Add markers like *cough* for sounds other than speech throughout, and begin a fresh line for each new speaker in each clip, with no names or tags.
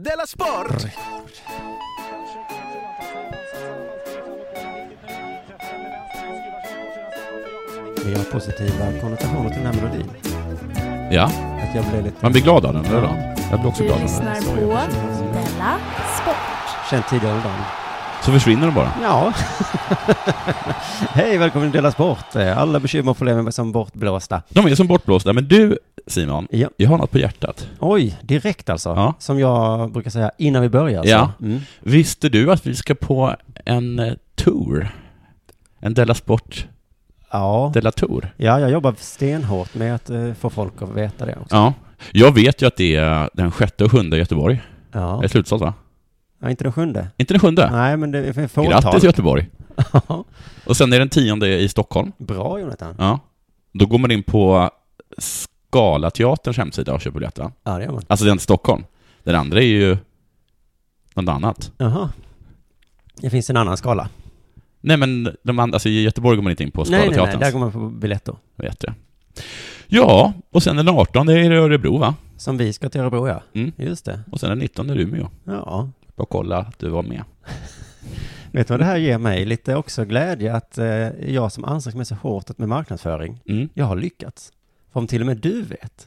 Della Sport!
Vi har positiva konnotationer till den här melodin.
Ja,
Att jag blev lite...
man blir glad av den, eller då? Jag blir också
Du
glad av den.
lyssnar på Della Sport.
Känt tidigare under dagen.
Så försvinner den bara.
Ja. *laughs* Hej, välkommen till Dela Sport. Alla bekymmer och problem är som bortblåsta.
De är som bortblåsta, men du Simon,
Ja.
jag har något på hjärtat.
Oj, direkt alltså.
Ja.
Som jag brukar säga innan vi börjar. så.
Ja.
Mm.
Visste du att vi ska på en eh, tour? En Della Sport
Ja.
Della Tour?
ja, jag jobbar stenhårt med att eh, få folk att veta det också.
Ja. Jag vet ju att det är den sjätte och sjunde i Göteborg.
Ja.
Det är slutsålt va?
ja inte den sjunde.
Inte den sjunde?
Nej, men det är ett fåtal.
Grattis Göteborg!
*laughs* Ja.
Och sen är den tionde i Stockholm.
Bra, Jonathan.
Ja. Då går man in på Skalateaterns hemsida och köper biljetter va?
Ja, det gör man.
Alltså den i Stockholm. Den andra är ju något annat.
Jaha. Det finns en annan skala.
Nej men de andra, alltså i Göteborg går man inte in på
Nej, nej, nej.
Skalateaterns.
Där går man på biljetter.
vet jag. Ja, och sen den 18 är det Örebro va?
Som vi ska till Örebro, ja.
Mm.
Just det.
Och sen den 19 är det Umeå.
Ja.
Bara kolla att du var med.
Vet du vad det här ger mig? Lite också glädje att eh, jag som anstränger mig så hårt med marknadsföring,
Mm. *laughs*
jag har lyckats. För om till och med du vet,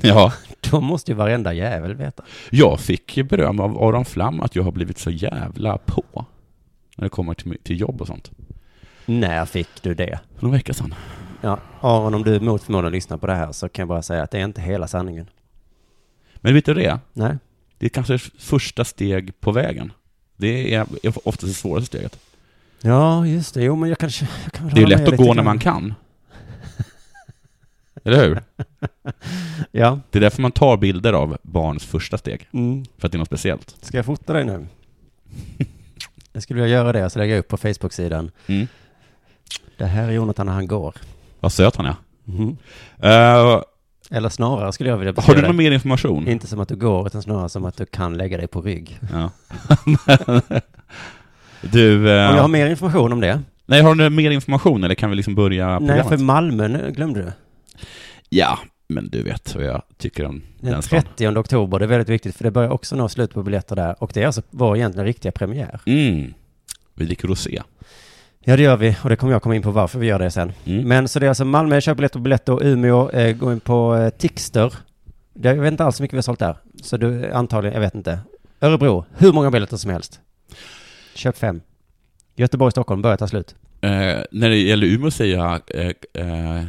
Ja,
då måste ju varenda jävel veta.
jag fick ju beröm av Aron Flam att jag har blivit så jävla på. När det kommer till, till jobb och sånt.
När fick du det?
För någon vecka sedan.
Ja, Aron, om du mot förmodan lyssnar på det här så kan jag bara säga att det är inte hela sanningen.
Men vet du det?
Nej.
Det är kanske första steg på vägen. Det är oftast det svåraste steget.
Ja, just det. Jo, men jag kanske... Jag kan väl
Det är ju
hålla
lätt
med
att
lite
gå när
grann.
man kan. *laughs* Eller hur?
Ja.
Det är därför man tar bilder av barns första steg.
Mm.
För att det är något speciellt.
Ska jag fota dig
*laughs*
nu? Jag skulle vilja göra det, så lägger jag upp på Facebook-sidan.
Mm.
Det här är Jonathan när han går.
Vad söt han är.
Mhm.
Eh,
Eller snarare skulle jag vilja
har
beskriva
du någon mer information?
Inte som att du går, utan snarare som att du kan lägga dig på rygg.
Ja. *laughs* du, eh,
Om jag har mer information om det?
nej, har du mer information eller kan vi liksom
Nej,
börja programmet?
för Malmö nu, glömde du.
Ja, men du vet vad jag tycker om den,
Den
stan.
30 oktober, det är väldigt viktigt för det börjar också nå slut på biljetter där. Och det är alltså vår egentligen riktiga premiär.
Mm. Vi dricker rosé.
Ja, det gör vi. Och det kommer jag komma in på varför vi gör det sen.
Mm.
Men så det är alltså Malmö, köp biljetter på biljetter och Umeå, eh, gå in på eh, Tixter. Det- Jag vet inte alls hur mycket vi har sålt där. Så du, antagligen, jag vet inte. Örebro, hur många biljetter som helst. Köp fem. Göteborg, Stockholm, börjar ta slut.
Eh, när det gäller Umeå säger jag eh, eh,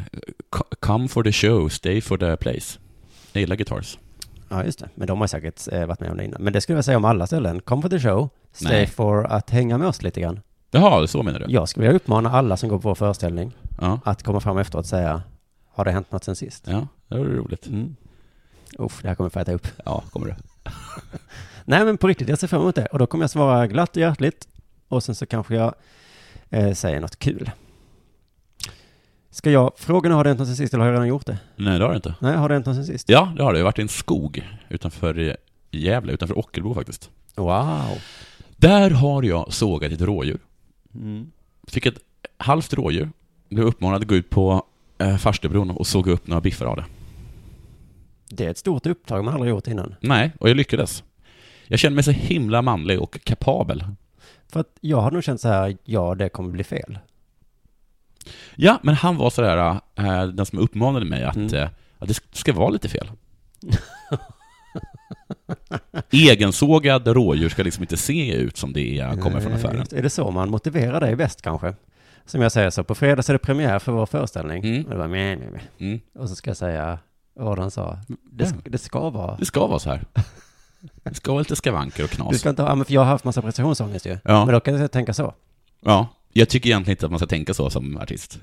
co- Come for the show, stay for the place. Jag gillar guitars.
Ja, just det. Men de har säkert eh, varit med om det innan. Men det skulle jag säga om alla ställen. Come for the show, stay
Nej.
for att hänga med oss lite grann.
Jaha, så menar du?
Jag skulle vilja uppmana alla som går på vår föreställning
Ja.
att komma fram efteråt och säga Har det hänt något sen sist?
Ja, det var roligt.
Mm. Uff, det här kommer jag få äta upp.
Ja, kommer du.
Nej, men på riktigt, jag ser fram emot det. Och då kommer jag svara glatt och hjärtligt. Och sen så kanske jag eh, säger något kul. Ska jag fråga nu, har det hänt något sen sist eller har jag redan gjort det?
Nej, det har du inte.
Nej, har det hänt något sen sist?
Ja, det har du. Jag har varit i en skog utanför eh, Gävle, utanför Ockelbo faktiskt.
Wow.
Där har jag sågat ett rådjur.
Mm.
Fick ett halvt rådjur. Blev uppmanad att gå ut på eh, farstubron och såga upp några biffar av det.
Det är ett stort uppdrag man aldrig gjort innan.
Nej, och jag lyckades. Jag kände mig så himla manlig och kapabel.
För att jag har nog känt så här, ja, det kommer bli fel.
Ja, men han var sådär, eh, den som uppmanade mig att,
Mm.
eh, att det ska vara lite fel. *laughs* Egensågad rådjur ska liksom inte se ut som det jag kommer från
Eh,
affären.
just- Är det så man motiverar dig bäst kanske? Som jag säger så, på fredag så är det premiär för vår föreställning.
Mm.
Och, det var, meh, meh, meh.
Mm.
och så ska jag säga vad han sa. Det, sk- det ska vara.
Det ska vara så här. Det ska vara lite skavanker och
Du
knas.
ska inte ha, ja, men för jag har haft massa prestationsångest ju.
Ja.
Men då kan jag tänka så.
Ja, jag tycker egentligen inte att man ska tänka så som artist.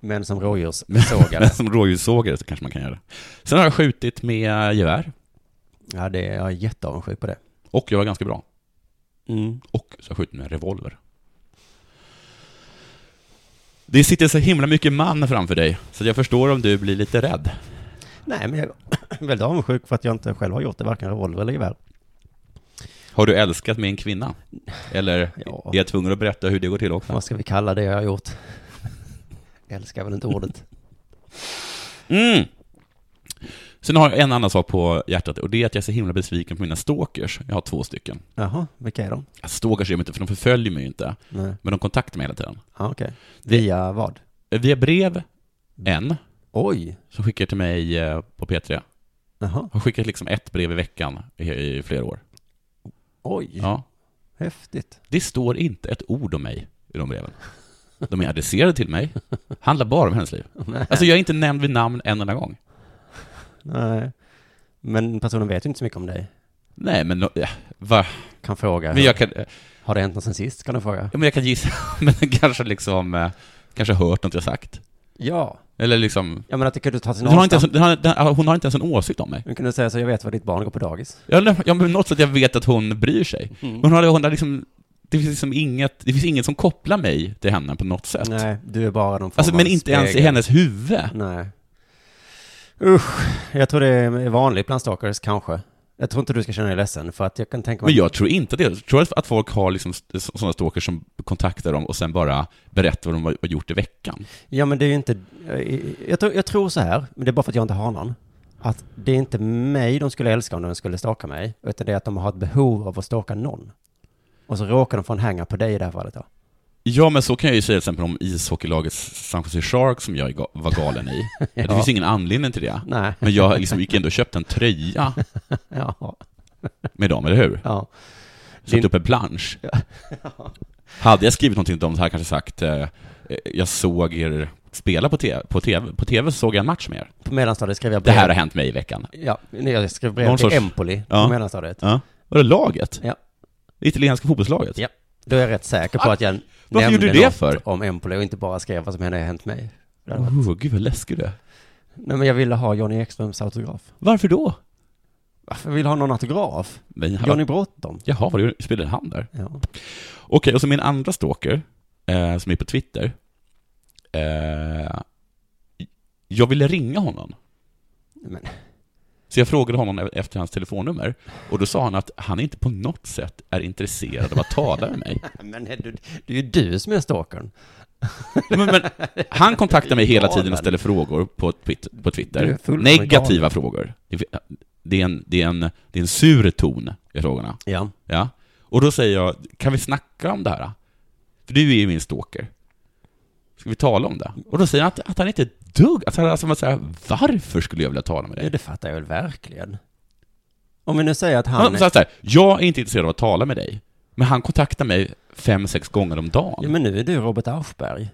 Men som
Men
rådjurssågare.
*laughs* som rådjurssågare så kanske man kan göra det. Sen har jag skjutit med gevär
ja, det är, jag är jätteavundsjuk på det.
och jag var ganska bra.
mm.
Och så har jag skjutit med en revolver. Det sitter så himla mycket man framför dig, så jag förstår om du blir lite rädd.
Nej, men jag är väldigt avundsjuk för att jag inte själv har gjort det, varken revolver eller gevär.
Har du älskat med en kvinna? Eller
Ja.
är jag tvungen att berätta hur det går till också?
Vad ska vi kalla det jag har gjort? *laughs* Älskar väl inte ordet.
Mm. Sen har jag en annan sak på hjärtat och det är att jag är så himla besviken på mina stalkers. Jag har två stycken.
Jaha, vilka är de?
Stalkers gör mig inte, för de förföljer mig ju inte.
Nej.
Men de kontaktar mig hela tiden.
Ja, okej. Via vad?
Eh, Via brev, en,
Oj!
som skickar till mig eh, på P3.
Jaha.
Har skickat liksom ett brev i veckan i, i flera år.
Oj,
Ja.
häftigt.
Det står inte ett ord om mig i de breven. De är adresserade till mig. Handlar bara om hennes liv. Alltså jag är inte nämnd vid namn en enda gång.
Nej. Men personen vet ju inte så mycket om dig.
Nej, men, no- ja, va?
Kan fråga.
men jag kan... eh,
Har det hänt något sen sist? Kan du fråga?
Ja, men jag kan gissa, *laughs* men kanske liksom, eh, kanske hört något jag sagt.
Ja.
Eller liksom,
Jag menar, att det kunde ta sin
den har inte
avstamp.
ens, den har, den, hon har inte ens en åsikt om mig.
Nu kunde du säga så, jag vet var ditt barn går på dagis.
Jag, har- jag, på något sätt jag vet att hon bryr sig.
Mm.
Hon har, hon har liksom, det finns liksom inget, det finns inget som kopplar mig till henne på något sätt.
Nej, Mm. du är bara någon form
Alltså,
av
men inte ens i
spegel.
hennes huvud.
Nej. Usch, jag tror det är vanligt bland stalkers, kanske. Jag tror inte du ska känna dig ledsen, för att jag kan tänka mig...
Men jag tror inte det. Jag tror att- att folk har liksom sådana stalkers som kontaktar dem och sen bara berättar vad de har har gjort i veckan.
Ja, men det är ju inte... eh, Jag tror, jag tror så här, men det är bara för att jag inte har någon. Att det är inte mig de skulle älska om de skulle stalka mig, utan det är att de har ett behov av att stalka någon. Och så råkar de få en hänga på dig i det här fallet då.
Ja, men så kan jag ju säga till exempel om ishockeylaget San Jose Sharks som jag ga- var galen i. Det finns ingen anledning till det.
Nej.
Men jag liksom gick ändå och köpte en tröja
*laughs* Ja.
med dem, eller hur?
ja.
Köpte upp en plansch. *laughs* Hade jag skrivit någonting till dem så hade jag kanske sagt eh, eh, jag såg er spela på TV, på TV, på TV så såg jag en match med er.
På mellanstadiet skrev jag
Det
brev.
här har hänt mig i veckan.
Ja, nej, jag skrev brev
Någon
till
sorts-
Empoli
Ja.
på mellanstadiet.
Ja. Var det laget?
Ja.
Det italienska fotbollslaget?
Ja. Då är jag rätt säker på att jag
Ah, Varför gjorde
nämnde
du det
något
för?
om Empoli och inte bara skrev vad som hände har hänt mig. Det hade varit-
Oh, gud vad läskig du är.
Nej, men jag ville ha Johnny Ekströms autograf.
Varför då?
Varför vill ha någon autograf?
Men han,
Johnny Bråttom.
Jaha, vad gjorde- spelade han där?
Ja.
Okej, och så min andra stalker, eh, som är på Twitter. Eh, jag ville ringa honom.
Men,
Så jag frågade honom e- efter hans telefonnummer. Och då sa han att han inte på något sätt är intresserad av att tala
*laughs*
med mig.
men är du, det är ju du som är stalkern.
Men, men, han kontaktar mig hela tiden och ställer frågor på, twit-
Du
på Twitter.
är fullkomligt
Negativa frågor. Det är- Det är, en, det, är en, det är en sur ton i frågorna.
Ja.
Ja. Och då säger jag, kan vi snacka om det här? För du är ju min stalker. Ska vi tala om det? Och då säger han att, att han inte är ett dugg, att han alltså, man säger, varför skulle jag vilja tala med
ja,
dig?
det fattar jag väl verkligen. Om vi nu säger att han...
Han sa så här, jag är inte intresserad av att tala med dig, men han kontaktar mig fem, sex gånger om dagen.
Ja, men nu är du Robert Aschberg.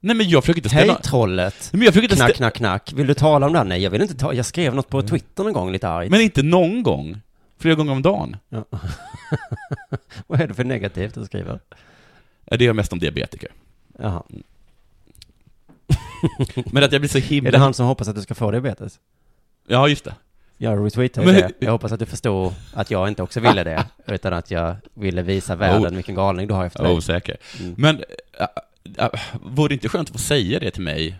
Nej men jag försöker inte ställa...
Hej trollet!
Nej, men jag försöker inte
Knack,
ställa...
knack, knack. Vill du tala om det här? Nej, jag vill inte ta... Jag skrev något
Mm.
på Twitter någon gång lite argt.
Men inte någon gång. Flera gånger om dagen.
Vad är det för negativt du skriver?
Ja, Det är mest
*laughs*
om diabetiker.
Jaha.
Men att jag blir så himla...
Är det han som hoppas att du ska få diabetes?
Ja, just det.
Jag retweetade
Men-
det. Jag hoppas att du förstår att jag inte också ville
*laughs*
det, utan att jag ville visa
Oh.
världen vilken galning du har efter
Jag var
dig.
osäker.
Mm.
Men äh, äh, vore det inte skönt att få säga det till mig?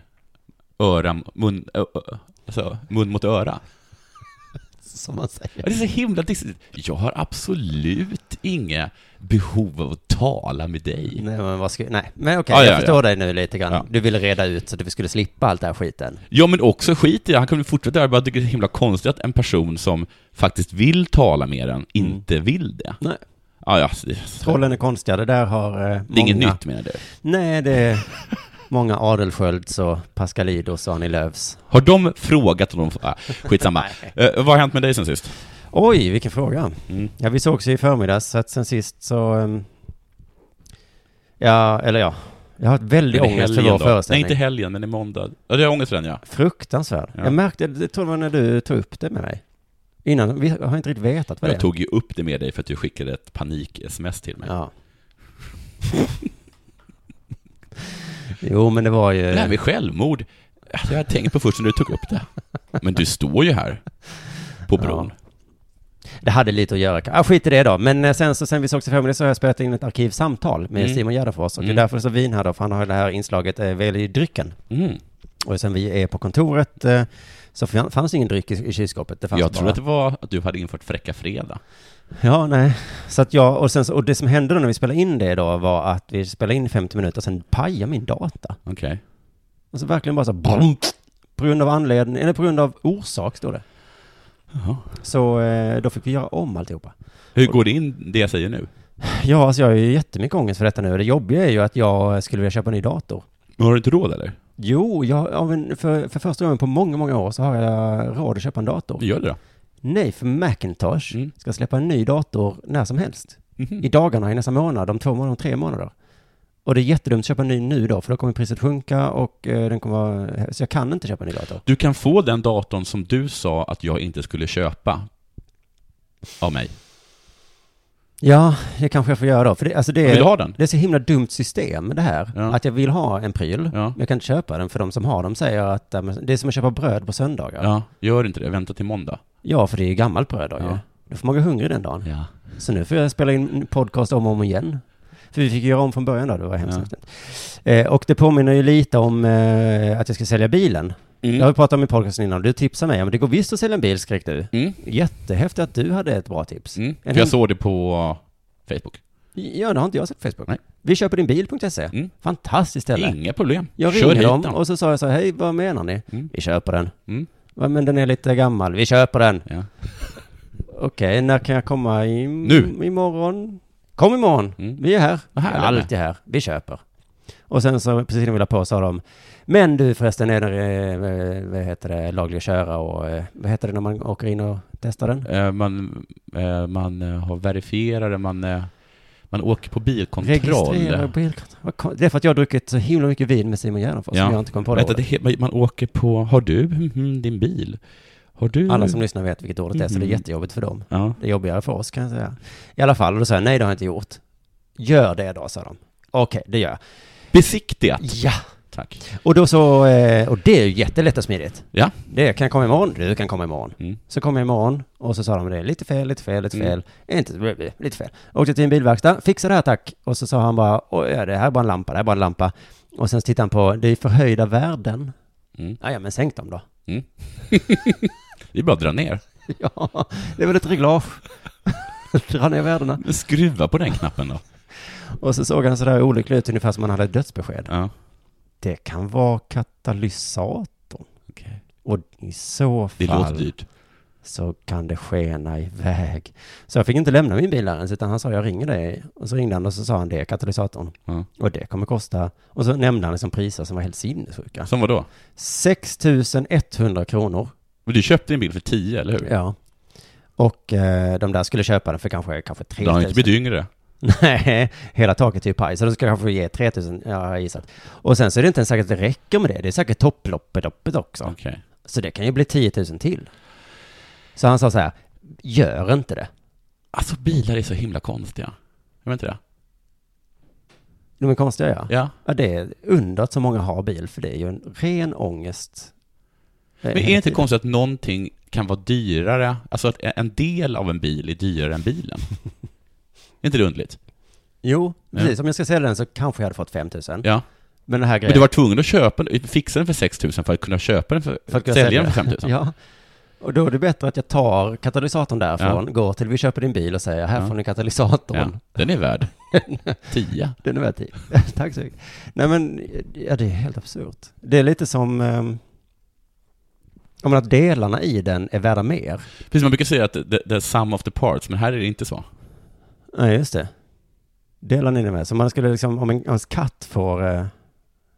Öra, mun, ö, ö, alltså, mun mot öra.
Som man
Ja,
säger.
Det är så himla dissigt. Jag har absolut inga behov av att tala med dig.
Nej, men vad ska... Nej, men okej,
Ja,
jag
ja,
förstår
ja.
dig nu lite grann.
Ja.
Du ville reda ut så att vi skulle slippa allt det här skiten.
Ja, men också skit i det. Han kunde fortsätta där. Jag bara tycker det är himla konstigt att en person som faktiskt vill tala med en inte vill det.
Mm. Nej.
Ja, ja, det,
Trollen är konstiga, det där har eh,
det är inget
många...
nytt menar du?
Nej, det
*laughs*
är många Adelskölds och Pascalidos och Annie Lööfs.
Har de frågat om de... Äh,
*laughs*
skitsamma. Eh, vad har hänt med dig sen sist?
Oj, vilken fråga.
Mm.
Ja, vi sågs ju i förmiddags, så att sen sist så... ehm, ja, eller ja. Jag har ett väldigt
Eller
ångest för
helgen
vår
då?
föreställning.
Nej, inte helgen, men i måndag. Ja, det är ångest för den, ja.
Fruktansvärd.
Ja.
Jag märkte, det tror jag var när du tog upp det med mig. Innan, vi har inte riktigt vetat vad det
Jag
är.
tog ju upp det med dig för att du skickade ett panik-sms till mig.
Ja. jo, men det var ju...
Det här med självmord, alltså, jag hade tänkt på först när du tog upp det. Men du står ju här, på bron.
Det hade lite att göra. Ah, skit i det då. Men eh, sen, så, sen vi sågs i förmiddags så har jag spelat in ett arkivsamtal med
Mm.
Simon Gärdenfors. Och
Mm.
det är därför det är så vin här då, för han har ju det här inslaget eh, Välj drycken.
Mm.
Och sen vi är på kontoret eh, så fan- fanns ingen dryck i, i kylskåpet. Det fanns
Jag
bara...
trodde att det var att du hade infört Fräcka Fredag.
Ja, nej. Så att jag, och, sen, så- och det som hände då när vi spelade in det då var att vi spelade in 50 minuter och sen pajade min data.
Okej.
Alltså verkligen bara så här, brum, på grund av anledning, eller på grund av orsak står det.
Jaha.
Så eh, då fick vi göra om alltihopa.
Hur går det in, det jag säger nu?
Ja, alltså jag har ju jättemycket ångest för detta nu. Det jobbiga är ju att jag skulle vilja köpa en ny dator.
Men Har du inte råd eller?
Jo, jag, av en, för, för första gången på många, många år så har jag råd att köpa en dator.
Gör det då.
Nej, för Macintosh
Mm.
ska släppa en ny dator när som helst.
Mhm.
I dagarna, i nästa månad, om två månader, om tre månader. Och det är jättedumt att köpa en ny nu då, för då kommer priset sjunka och eh, den kommer vara... Så jag kan inte köpa en ny dator.
Du kan få den datorn som du sa att jag inte skulle köpa av mig.
Ja, det kanske jag får göra då. För det, alltså det,
Vill du
är,
ha den?
det är så himla dumt system det här.
Ja.
Att jag vill ha en pryl,
Ja.
men jag kan inte köpa den för de som har dem säger att äh, men det är som att köpa bröd på söndagar. Ja,
Ja, gör inte det. Vänta till måndag.
för det är ju gammalt bröd då ju.
Ja.
Då får man gå hungrig den dagen.
Ja.
Så nu får jag spela in en podcast om och om igen. För vi fick göra om från början då, det var hemskt
Ja.
häftigt. eh, Och det påminner ju lite om eh, att jag ska sälja bilen.
Mm.
Jag har ju pratat om i podcasten innan, du tipsade mig om det går visst att sälja en bil, skrek du.
Mm.
Jättehäftigt att du hade ett bra tips.
Mm. För
En
jag
hund-
såg det på uh, Facebook.
Ja, det har inte jag sett på Facebook.
Nej.
Vi köper din bil.se.
Mm.
E. Fantastiskt ställe.
Inga problem.
Jag
Kör
ringde
hit
dem
den.
och så sa jag så här, hej vad menar ni?
Mm.
Vi köper den.
Mm.
"Va, Men den är lite gammal, vi köper den.
Ja.
Okej, när kan jag komma? I,
Nu.
Imorgon? Kom imorgon,
Mm.
vi är här.
Vad
Vi är
härligt.
alltid här, vi köper. Och sen så, precis innan vi la på, sa de, men du förresten, är det, eh, vad heter det, laglig att köra och, eh, vad heter det när man åker in och testar den?
Eh, Man, eh, man eh, har verifierare, man, eh, man åker på biokontroll.
Registrera bilkontroll. Vad kon- Det är för att jag har druckit så himla mycket vin med Simon Gärdenfors
Ja.
som jag inte kom på det
Vänta, det
ordet.
he- man åker på... Har du mhm, din bil? Har du...
Alla som lyssnar vet vilket ordet det är, så det är
Mhm.
jättejobbigt för dem.
Ja.
Det är jobbigare för oss kan jag säga. I alla fall, och då sa jag nej det har jag inte gjort. Gör det då, sa de. Okej, det gör jag.
Besiktigat.
Ja!
Tack.
Och då så, eh, och det är ju jättelätt och smidigt.
Ja.
Det kan jag komma imorgon, du kan komma imorgon.
Mm.
Så kom jag imorgon och så sa de det, är lite fel, lite fel, lite
Mm.
fel, inte, eh, lite fel. Åkte till en bilverkstad, fixa det här tack. Och så sa han bara, oj, ja, det här är bara en lampa, det här är bara en lampa. Och sen så tittade han på, det är förhöjda värden.
Mm.
Ja, ja men sänk dem då. *laughs*
Det är bara att dra ner.
Ja, det är väl ett reglage. *laughs* Dra ner värdena.
Men skruva på den knappen då.
Och så såg han sådär olycklig ut, ungefär som om han hade ett dödsbesked.
Ja.
Det kan vara katalysatorn.
Okej.
Och i så fall...
Det låter dyrt.
så kan det skena iväg. Så jag fick inte lämna min bil där ens, utan han sa jag ringer dig. Och så ringde han och så sa han det, är katalysatorn.
Ja.
Och det kommer kosta. Och så nämnde han liksom priser som var helt sinnessjuka.
Som vadå?
6 100 kronor.
Men du köpte din bil för 10, eller hur?
Ja. Och eh, de där skulle köpa den för kanske, kanske
Du
3
har
000.
inte blivit yngre.
*laughs* Nej, hela taket är ju paj, så de ska kanske ge 3 000, ja, jag har gissat. Och sen så är det inte ens säkert att det räcker med det, det är säkert topploppet också.
Okej.
Så det kan ju bli 10 000 till. Så han sa så här, gör inte det.
Alltså bilar är så himla konstiga. Jag vet inte det?
De är konstiga ja.
Ja.
Ja, det är under att så många har bil, för det är ju en ren ångest.
Men är det inte konstigt att någonting kan vara dyrare, alltså att en del av en bil är dyrare
*laughs*
än bilen? är inte det underligt?
Jo,
Ja.
precis. Om jag ska sälja den så kanske jag hade fått 5 000.
Ja.
Men den här
Men
grejen...
du var tvungen att köpa den, fixa den för 6 000 för att kunna köpa den för,
För att kunna
sälja
sälja.
den för 5 000?
*laughs* Ja. Och då är det bättre att jag tar katalysatorn därifrån, går till vi köper din bil och säger här
Ja.
får ni katalysatorn.
Ja, *laughs* Den är värd
*laughs*
10.
Den är värd tid. *laughs* Tack så mycket. Nej men, ja det är helt absurt. Det är lite som... ehm, om att delarna i den är värda mer.
Precis, man brukar säga att the, the sum of the parts, men här är det inte så.
Nej, just det. Delar ni det med? Så man skulle liksom, om en, om ens katt får eh,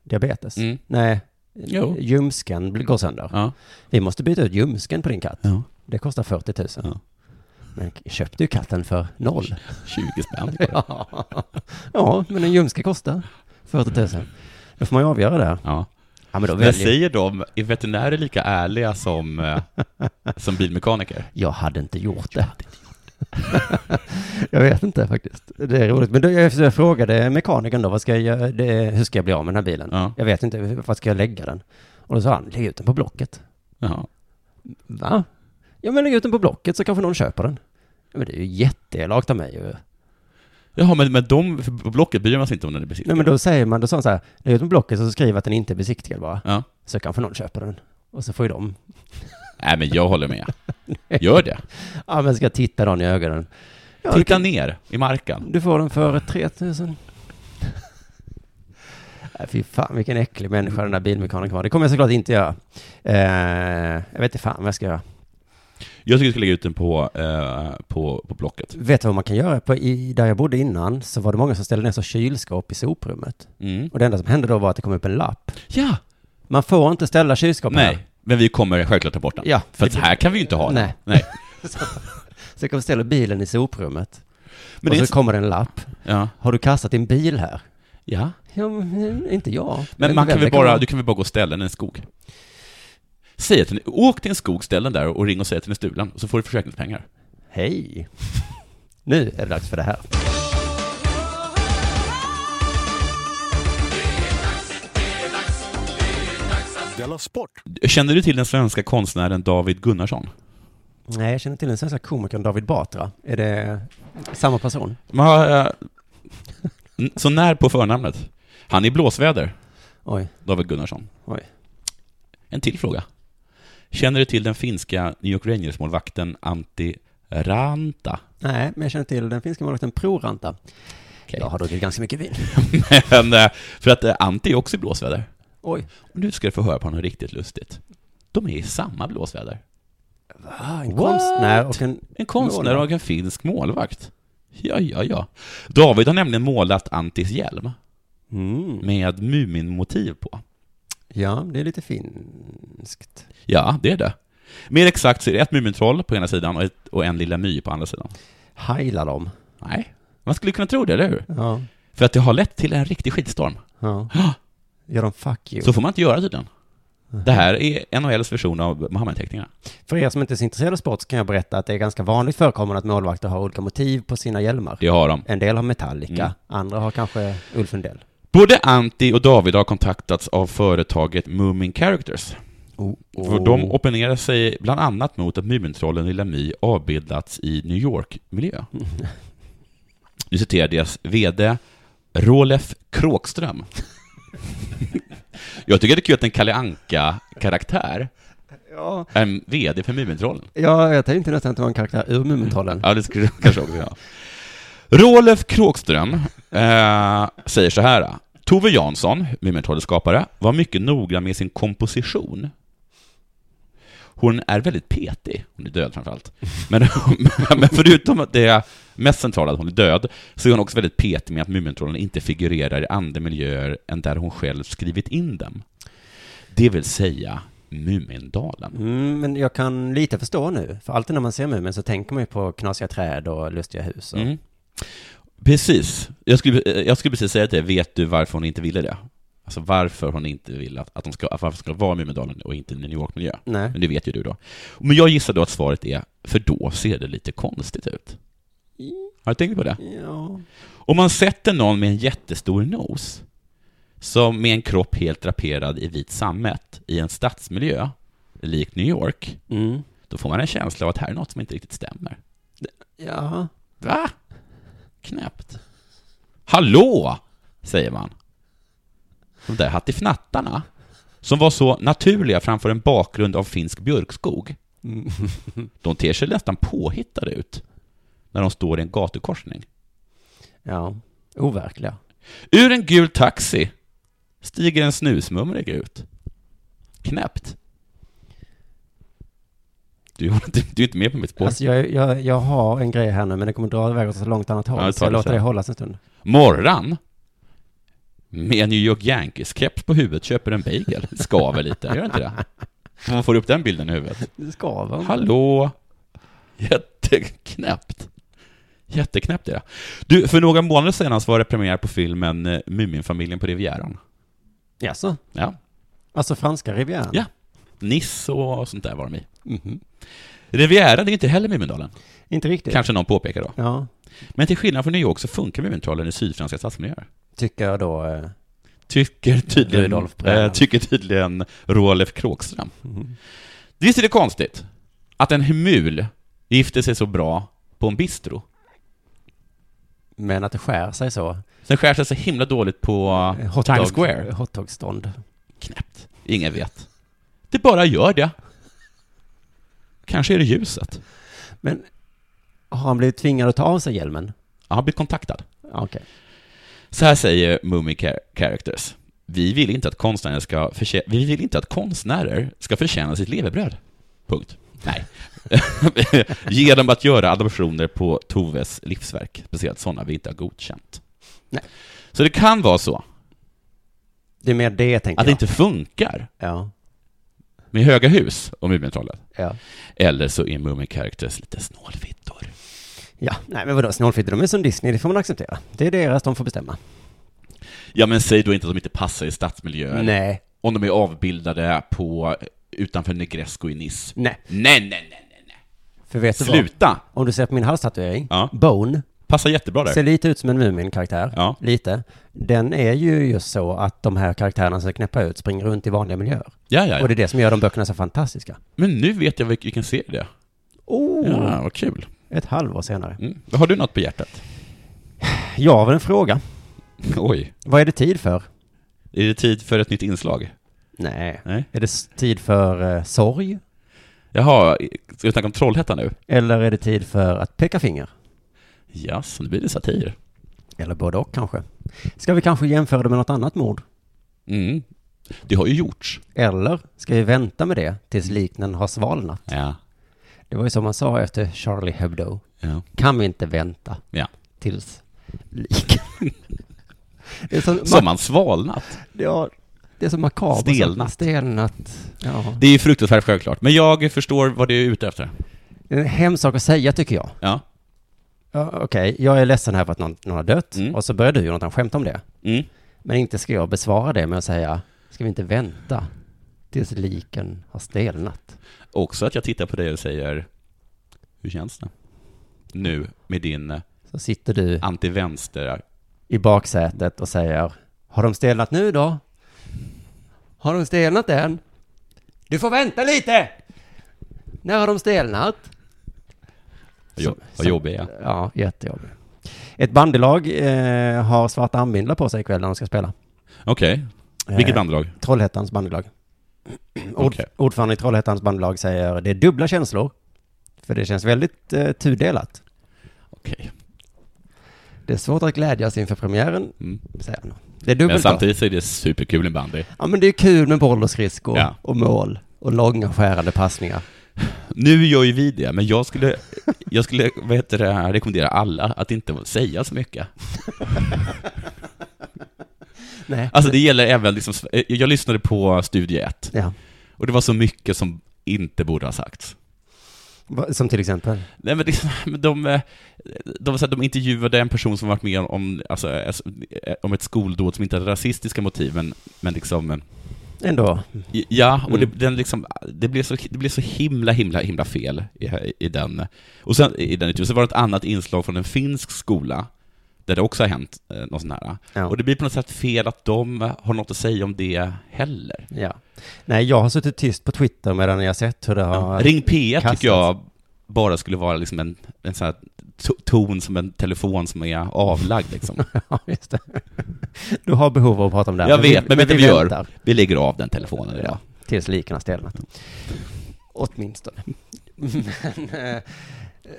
diabetes?
Mm.
Nej,
Jo.
ljumsken blir- går sönder.
Ja.
Vi måste byta ut ljumsken på din katt.
ja.
Det kostar 40 000.
Ja.
Men jag köpte ju katten för noll.
20 spänn.
*laughs* ja. ja, men en ljumske kostar 40 000. Då får man ju avgöra det. här.
Ja.
Ja, men då
Men
väljer jag.
säger de, är veterinärer lika ärliga som, eh, som bilmekaniker?
Jag hade inte gjort det. *laughs* jag vet inte faktiskt. Det är roligt. Men då, jag jag frågade mekanikern då, vad ska jag, göra? det, hur ska jag bli av med den här bilen?
Ja.
Jag vet inte, var ska jag lägga den? Och då sa han, lägg ut den på Blocket.
Ja.
Va? Ja men lägg ut den på Blocket så kanske någon köper den. Ja, men det är ju jätteelakt av mig ju.
Jaha, men, men de, för Blocket bryr man sig inte om när det är
Nej
besiktning.
men då säger man, då sa han så här, lägg ut den på Blocket och så skriv att den inte är besiktigad bara.
Ja.
Så kanske någon köper den. Och så får ju de,
Nej, men jag
*laughs*
håller med. Gör det.
ja men ska jag titta någon i ögonen. Ja,
Titta ner i marken.
Du får den för 3000. Nej, Fy fan vilken äcklig människa den där bilmekanikern var. Det kommer jag såklart inte göra. Eh, jag vet inte fan vad jag ska göra.
Jag tycker vi ska lägga ut den på, eh, på, på Blocket.
Vet du vad man kan göra? På, i, där jag bodde innan så var det många som ställde ner så kylskåp i soprummet.
Mm.
Och det enda som hände då var att det kom upp en lapp.
Ja!
Man får inte ställa kylskåp här.
Nej, men vi kommer självklart ta bort den.
Ja.
För att så här kan vi ju inte ha den.
Nej.
Nej.
*laughs* Så jag kommer ställa bilen i soprummet. och
Men det är
så
inte-
kommer det en lapp.
Ja.
Har du kastat din bil här?
ja.
Ja, men inte jag.
Men man kan
Vem
väl
det
bara,
vara?
du kan väl bara gå och ställa den i en skog? Säg att den, åk till en skog, ställ den där och ring och säg att den är stulen, och så får du försäkringspengar.
Hej! Nu är det dags för det här.
Della Sport!
Känner du till den svenska konstnären David Gunnarsson?
Nej, jag känner till den svenska komikern David Batra. Är det samma person?
Man har, eh, n- så när på förnamnet. Han är i blåsväder,
Oj,
David Gunnarsson.
oj.
En till fråga. Känner du till den finska New York Rangers-målvakten Antti Ranta?
Nej, men jag känner till den finska målvakten Proranta.
Okej.
Jag har druckit ganska mycket vin.
*laughs* Men, eh, för att eh, Antti är också i blåsväder.
Oj.
Och nu ska du få höra på något riktigt lustigt. De är i samma blåsväder.
Ah, en
What?
konstnär och en...
En konstnär
Målvakt.
och en finsk målvakt. Ja, ja, ja. David har nämligen målat Antis hjälm
Mm.
med Muminmotiv på.
Ja, det är lite finskt.
Ja, det är det. Mer exakt så är det ett Mumintroll på ena sidan och, ett, och en Lilla My på andra sidan.
Heilar dem.
Nej, man skulle kunna tro det, eller hur?
Ja,
För att det har lett till en riktig skitstorm.
ja.
Ah,
Gör dem fuck you.
Så får man inte göra tydligen. Det här är NHLs version av Muhammed-teckningarna.
För er som inte är så intresserade av sport så kan jag berätta att det är ganska vanligt förekommande att målvakter har olika motiv på sina hjälmar.
Det har de.
En del har Metallica,
Mm.
andra har kanske Ulf Lundell.
Både Antti och David har kontaktats av företaget Moomin Characters. För de opponerar sig bland annat mot att Mumintrollen Lilla My avbildats i New York-miljö. Nu citerar deras VD Rolef Kråkström. Jag tycker det är kul att en Kalle Anka-karaktär
Ja,
är en VD för Mumintrollen.
ja, jag tänkte nästan att det var en karaktär ur Mumintrollen.
Ja, det skulle jag kanske också göra. Rolf Kråkström eh, säger så här. Tove Jansson, Mumintrollets skapare, var mycket noggrann med sin komposition. Hon är väldigt petig, hon är död framförallt. Men, *laughs* men förutom att det är mest centrala, att hon är död, så är hon också väldigt petig med att Mumintrollen inte figurerar i andra miljöer än där hon själv skrivit in dem. Det vill säga Mumindalen.
Mm, men jag kan lite förstå nu, för alltid när man ser Mumin så tänker man ju på knasiga träd och lustiga hus. Och...
Mm. Precis. Jag skulle, eh, jag skulle precis säga det. Vet du varför hon inte ville det? Alltså varför hon inte ville att, att, de ska, att varför de ska vara i Mumindalen och inte i New York-miljö.
Nej.
Men det vet ju du då. Men jag gissar då att svaret är, för då ser det lite konstigt ut. Har du tänkt på det?
Ja.
Om man sätter någon med en jättestor nos, som med en kropp helt draperad i vit sammet, i en stadsmiljö, lik New York,
Mm.
då får man en känsla av att här är något som inte riktigt stämmer.
Ja.
Va? Knäppt. Hallå! Säger man. De där hattifnattarna, som var så naturliga framför en bakgrund av finsk björkskog, de ter sig nästan påhittade ut när de står i en gatukorsning.
*laughs* Ja. Overkliga.
Ur en gul taxi stiger en snusmumrig ut. Knäppt. Du, du, du är inte med på mitt spår.
Alltså jag, jag, jag har en grej här nu, men det kommer dra iväg åt så långt annat håll.
Ja, det tar
så jag
det
låter
sen.
det hållas en stund.
Morran med en New York Yankees-keps på huvudet köper en bagel. Skaver lite, gör det inte det? Om Man får upp den bilden i huvudet.
Det skaver. inte.
Hallå? Jätteknäppt. Jätteknäppt är det. Du, för några månader sedan så var det premiär på filmen eh, Muminfamiljen på Rivieran.
Jaså?
Ja.
Alltså franska rivieran?
Ja. Nice och sånt där var de i.
Mhm.
Rivieran är inte heller Mumindalen,
Inte riktigt.
kanske någon påpekar då.
Ja,
Men till skillnad från New York så funkar Mumintrollen i sydfranska stadsmiljöer.
tycker jag då. eh,
Tycker tydligen,
Rudolf Brennan.
eh, tycker tydligen Rolf Kråkström. Visst är det konstigt att en humul gifter sig så bra på en bistro?
Men att det skär sig så.
Sen skär sig så himla dåligt på
Eh,
Times Square.
Hotdogstånd.
Knäppt. Ingen vet. Det bara gör det. Kanske är det ljuset.
Men har han blivit tvingad att ta av sig hjälmen?
Han har blivit kontaktad.
Ja, Okej.
Så här säger Mummy Char- Characters. Vi vill inte att konstnärer ska, förtjä- Vi vill inte att konstnärer ska förtjäna sitt levebröd. Punkt. Nej. *laughs* Genom att göra adoptioner på Toves livsverk, speciellt sådana vi inte har godkänt.
Nej.
Så det kan vara så
Det är mer det jag tänker.
att det inte funkar
Ja.
med höga hus om Mumintrollet.
Ja.
Eller så är Moomin Characters lite snålfittor.
ja. Nej, men vadå, snålfitter, de är som Disney, det får man acceptera. Det är deras, de får bestämma.
Ja, men säg då inte att de inte passar i stadsmiljöer.
Nej.
Om de är avbildade på utanför Negresco i Nice.
Nej.
Nej, nej, nej, nej, nej.
För vet du vad?
Sluta!
Om du ser på min halstatuering,
Ja.
Bone,
Passar jättebra där.
ser lite ut som en Mumin-karaktär.
Ja.
Lite. Den är ju just så att de här karaktärerna som knäppa ut springer runt i vanliga miljöer.
Ja, ja,
Och det
ja.
är det som gör de böckerna så fantastiska.
Men nu vet jag vilk- vilken serie det är.
Oh,
Ja, vad kul.
ett halvår senare.
Mm. Har du något på hjärtat?
Jag har väl en fråga.
*laughs* Oj.
Vad är det tid för?
Är det tid för ett nytt inslag?
Nej.
Nej.
Är det s- tid för eh, sorg?
Jaha, ska vi snacka om Trollhättan nu?
Eller är det tid för att peka finger?
Jaså, nu blir det satir.
Eller både och kanske. Ska vi kanske jämföra det med något annat mord?
Mm. Det har ju gjorts.
Eller ska vi vänta med det tills liknande har svalnat?
Ja.
Det var ju som man sa efter Charlie Hebdo.
Ja.
Kan vi inte vänta
ja.
tills liknande... *laughs* Det är så,
Som man svalnat.
ja, det är så makabert.
Stelnat.
Stelnat. Ja.
Det är ju fruktansvärt självklart, men jag förstår vad du är ute efter.
Det är en hemsk sak att säga tycker jag.
Ja.
Ja, Okej, jag är ledsen här för att någon, någon har dött.
Mm.
Och så börjar du Jonathan skämta om det.
Mm.
Men inte ska jag besvara det med att säga, ska vi inte vänta tills liken har stelnat?
Också att jag tittar på dig och säger, hur känns det? Nu, med din
Så sitter du
antivänster...
i baksätet och säger, har de stelnat nu då? Har de stelnat än? Du får vänta lite! När har de stelnat? Så-
Vad jo- vad jobbig jag är.
Ja, jättejobbig. Ett bandylag eh, har svarta armbindlar på sig ikväll när de ska spela.
Okej, vilket bandlag?
Trollhättans bandylag. *clears throat* Ord,
Okej.
Ordförande i Trollhättans bandylag säger det är dubbla känslor. För det känns väldigt eh, tudelat.
Okej.
Det är svårt att glädjas inför premiären,
Mm.
säger han. Det är
Men
dubbelt då.
samtidigt så är det superkul med bandy.
Ja men det är kul med boll och skridskor
Ja.
och mål och långa skärande passningar.
Nu gör ju vi det, men jag *laughs* skulle, jag skulle vad heter det, rekommendera alla att inte säga så mycket.
Nej.
Alltså det gäller även, liksom, jag lyssnade på Studie 1,
Ja.
och det var så mycket som inte borde ha sagts.
Va- Som till exempel.
Nej men det, *laughs* men de, eh, de, de, de intervjuade en person som varit med om, alltså, es- eh, om ett skoldåd som inte hade rasistiska motiv, men, men liksom, eh,
Ändå.
ja, och det,
Mm.
den liksom, det, blev så, det blev så himla, himla, himla fel i, i den. Och sen i den intervjun, så var det ett annat inslag från en finsk skola, där det också har hänt eh, något sånt här.
Ja.
Och det blir på något sätt fel att de har något att säga om det heller.
ja. Nej, jag har suttit tyst på Twitter medan jag har sett hur det har...
Ring P1
kastas.
tycker jag bara skulle vara liksom en, en sån här to- ton som en telefon som är avlagd liksom.
*laughs* Ja, just det. Du har behov av att prata om det här.
Jag vet, men vet du vad vi gör?
väntar.
Vi lägger av den telefonen idag.
Tills liken har stelnat. Åtminstone. men, eh,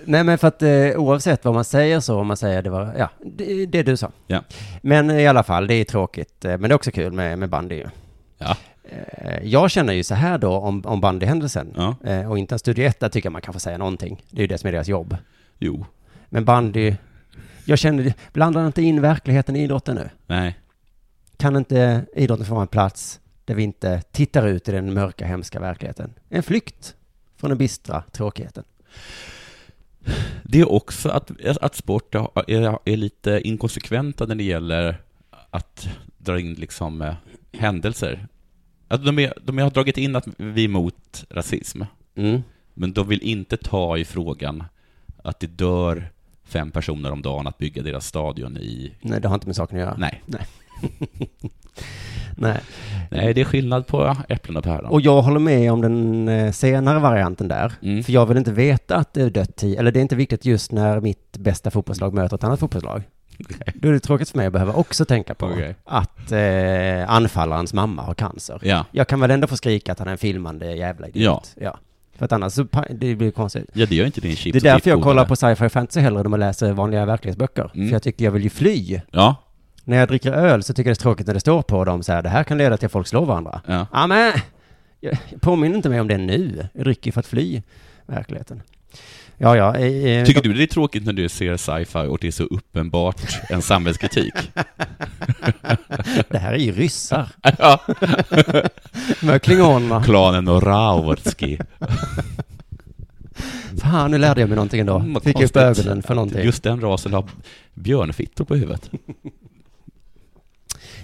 nej men för att eh, oavsett vad man säger så, om man säger det var, ja, det, det du sa.
Ja.
Men i alla fall, det är tråkigt, eh, men det är också kul med, med bandy ju.
Ja.
Eh, Jag känner ju så här då om, om bandyhändelsen.
Ja.
Eh, Och inte en studie ett, där tycker jag man kan få säga någonting. Det är ju det som är deras jobb.
Jo.
Men bandy, jag känner, blandar inte in verkligheten i idrotten nu.
Nej.
Kan inte idrotten få vara en plats där vi inte tittar ut i den mörka, hemska verkligheten? En flykt från den bistra tråkigheten.
Det är också att, att sport är, är lite inkonsekventa när det gäller att dra in liksom eh, händelser. Att de, är, de har dragit in att vi är mot rasism, Mm. men de vill inte ta i frågan att det dör fem personer om dagen att bygga deras stadion i...
Nej, det har inte med saken att göra.
Nej.
Nej.
Nej, det är skillnad på äpplen och päron.
Och jag håller med om den eh, senare varianten där.
Mm.
För jag vill inte veta att det är dött tid, eller det är inte viktigt just när mitt bästa fotbollslag möter ett annat fotbollslag. Då är det tråkigt för mig att behöva också tänka på
Okej.
att eh, anfallarens mamma har cancer.
Ja.
Jag kan väl ändå få skrika att han är en filmande jävla idiot.
Ja.
För att annars så pa- det blir konstigt.
ja, det gör inte din chips
Det är
och
därför jag
chipsodlare.
kollar på sci-fi och fantasy hellre än att läsa vanliga verklighetsböcker.
Mm.
För jag tycker jag vill ju fly.
Ja,
När jag dricker öl så tycker jag det är tråkigt när det står på dem så här, det här kan leda till att folk slår varandra.
ja.
Ja men, jag- påminn inte mig om det nu. Jag dricker ju för att fly. verkligheten. Ja, ja. eh, eh,
Tycker du det är tråkigt när du ser sci-fi och det är så uppenbart
*laughs*
en samhällskritik?
Det här är ju ryssar.
*laughs* ja.
Med klingonerna.
Klanen och Rautski.
Fan, nu lärde jag mig någonting ändå.
Mm, vad
Fick upp
konstigt.
ögonen för någonting.
Just den rasen har björnfittor på huvudet.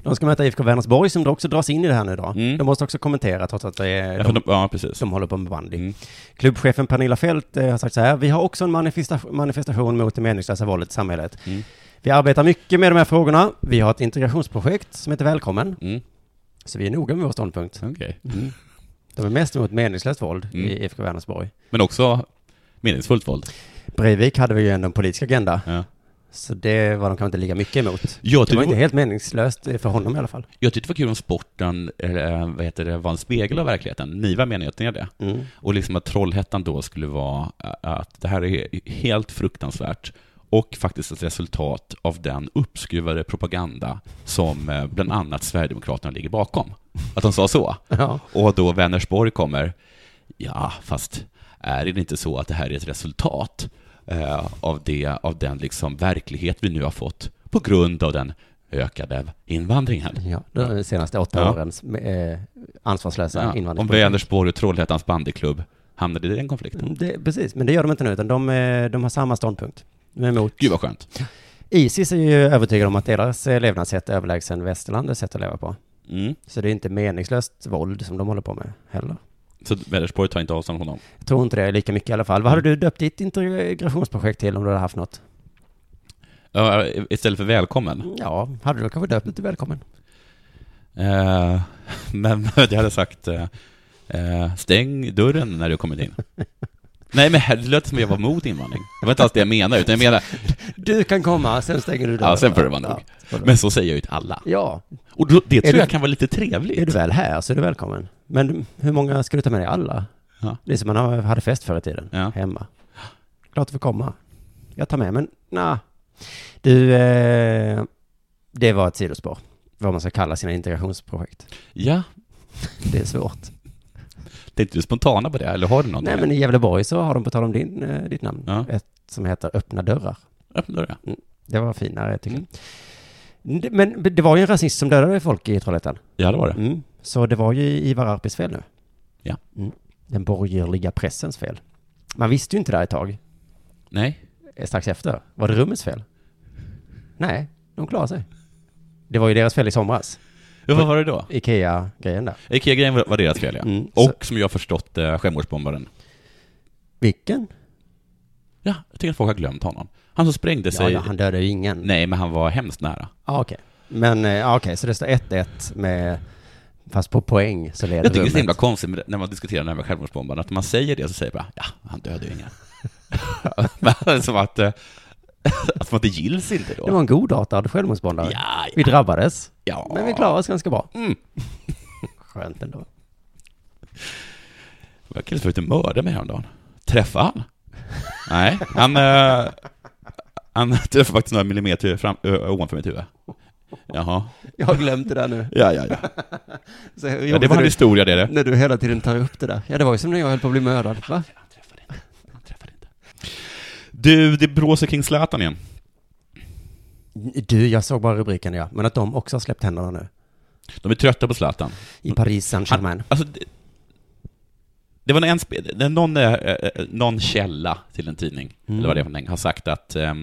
De ska möta IFK Vänersborg som också dras in i det här nu då.
Mm.
De måste också kommentera trots att det är
Ja,
de
för de, ja precis.
som håller på med bandy.
Mm.
Klubbchefen Pernilla Fält eh, har sagt så här. Vi har också en manifesta- manifestation mot det meningslösa våldet i samhället.
Mm.
Vi arbetar mycket med de här frågorna. Vi har ett integrationsprojekt som heter Välkommen.
Mm.
Så vi är noga med vår ståndpunkt.
Okej.
De är mest emot meningslöst våld
Mm.
i IFK Vänersborg.
Men också meningsfullt våld.
Breivik hade vi ju ändå en politisk agenda.
Ja.
Så det var de kanske inte lika mycket emot.
Jag
Det var
tyckte
inte
det,
helt meningslöst eh, för honom i alla fall.
jag tyckte det var kul om sporten, eller, eh, vad heter det, var en spegel av verkligheten. Niva menar jag att den är det.
Mm.
Och liksom att Trollhättan då skulle vara eh, att det här är helt fruktansvärt och faktiskt ett resultat av den uppskruvade propaganda som eh, bland annat Sverigedemokraterna ligger bakom. Att de sa så.
Ja.
Och då Vänersborg kommer, ja, fast är det inte så att det här är ett resultat eh, av, det, av den liksom verklighet vi nu har fått på grund av den ökade invandringen?
Ja, det är de senaste åtta
Ja.
årens eh, ansvarslösa
Ja, om
invandringspolitik.
Vänersborg och Trollhättans bandyklubb hamnade i den konflikten.
Mm, Det, precis, men det gör de inte nu, utan de, eh, de har samma ståndpunkt. De är emot.
Gud vad skönt.
Isis är ju övertygade om att deras eh, levnadssätt är överlägsen västerlandets sätt att leva på.
Mm.
Så det är inte meningslöst våld som de håller på med heller.
Så Vänersborg tar inte avstånd från honom.
Jag tror inte det är lika mycket i alla fall. Vad hade du döpt ditt integrationsprojekt till om du hade haft något?
Ja, istället för välkommen.
Ja, hade du kanske döpt det till välkommen?
Eh, men *laughs* jag hade sagt eh, eh, stäng dörren när du kommit in. Nej men det lät som att jag var mot invandring. Det var inte alls det jag menade, utan
*laughs*
jag menar
Du kan komma, sen stänger du dörren.
Ja, sen får det vara nog.
Ja,
Men så säger jag ju till alla.
ja,
Och då, det tror
du-
jag kan vara lite
är du
trevligt.
väl här så är du välkommen. Men hur många ska du ta med dig? Alla?
Ja.
Det är som man har- hade fest förr i tiden,
Ja.
hemma. Klart du får komma. Jag tar med, men nja. Du, eh, det var ett sidospår. Vad man ska kalla sina integrationsprojekt.
Ja,
Det är svårt.
tänkte du spontana på det, eller har du någon?
Nej, men i Gävleborg så har de, på tal om din, eh, ditt namn,
Ja.
ett som heter Öppna dörrar.
Öppna dörren.
Det var finare, tycker
Mm.
jag. Det- Men det var ju en rasist som dödade folk i Trollhättan.
Ja, det var det.
Mm. Så det var ju Ivar Arpis fel nu.
Ja.
Mm. Den borgerliga pressens fel. Man visste ju inte det här ett tag.
Nej.
Eh, Strax efter. Var det rummets fel? Nej, de klarade sig. Det var ju deras fel i somras.
Ja, vad var det då?
Ikea-grejen där.
Ikea-grejen var var deras fel, ja.
Mm, så-
Och som jag har förstått eh, självmordsbombaren.
Vilken?
Ja, jag tycker att folk har glömt honom. Han som sprängde
Ja,
sig.
ja, han dödade ju ingen.
Nej, men han var hemskt nära.
Ja, okej. Men eh, ja, okej, så det står 1-1 med... Fast på poäng så leder
Jag tycker det är så
rummet.
himla konstigt med det- när man diskuterar det här med självmordsbombaren, att när man säger det så säger bara ja, han dödade ju ingen. *laughs* Men som att, eh, *laughs* att man inte gills inte
Det
då.
var en godartad självmordsbombare.
Ja,
Vi
ja,
drabbades,
ja.
men vi klarade oss ganska bra.
Mm.
*laughs* Skönt ändå.
Jag kallades för att mörda mig häromdagen. Träffade han? Nej, han, eh, han *laughs* träffade faktiskt några millimeter fram, ö, ovanför mitt huvud. Jaha.
Jag har glömt det där nu.
Ja, ja, ja.
Så
ja det var en historia det. det.
när du hela tiden tar upp det där. Ja, det var ju som när jag höll på att bli mördad. Va?
Han träffade inte. Han träffade inte. Du, det blåser kring Zlatan igen.
Du, jag såg bara rubriken ja. Men att de också har släppt händerna nu.
De är trötta på Zlatan.
I Paris Saint-Germain.
Alltså, det, det var en, sp- det- någon, eh, eh, någon källa till en tidning,
Mm.
eller vad det är för någonting, har sagt att eh,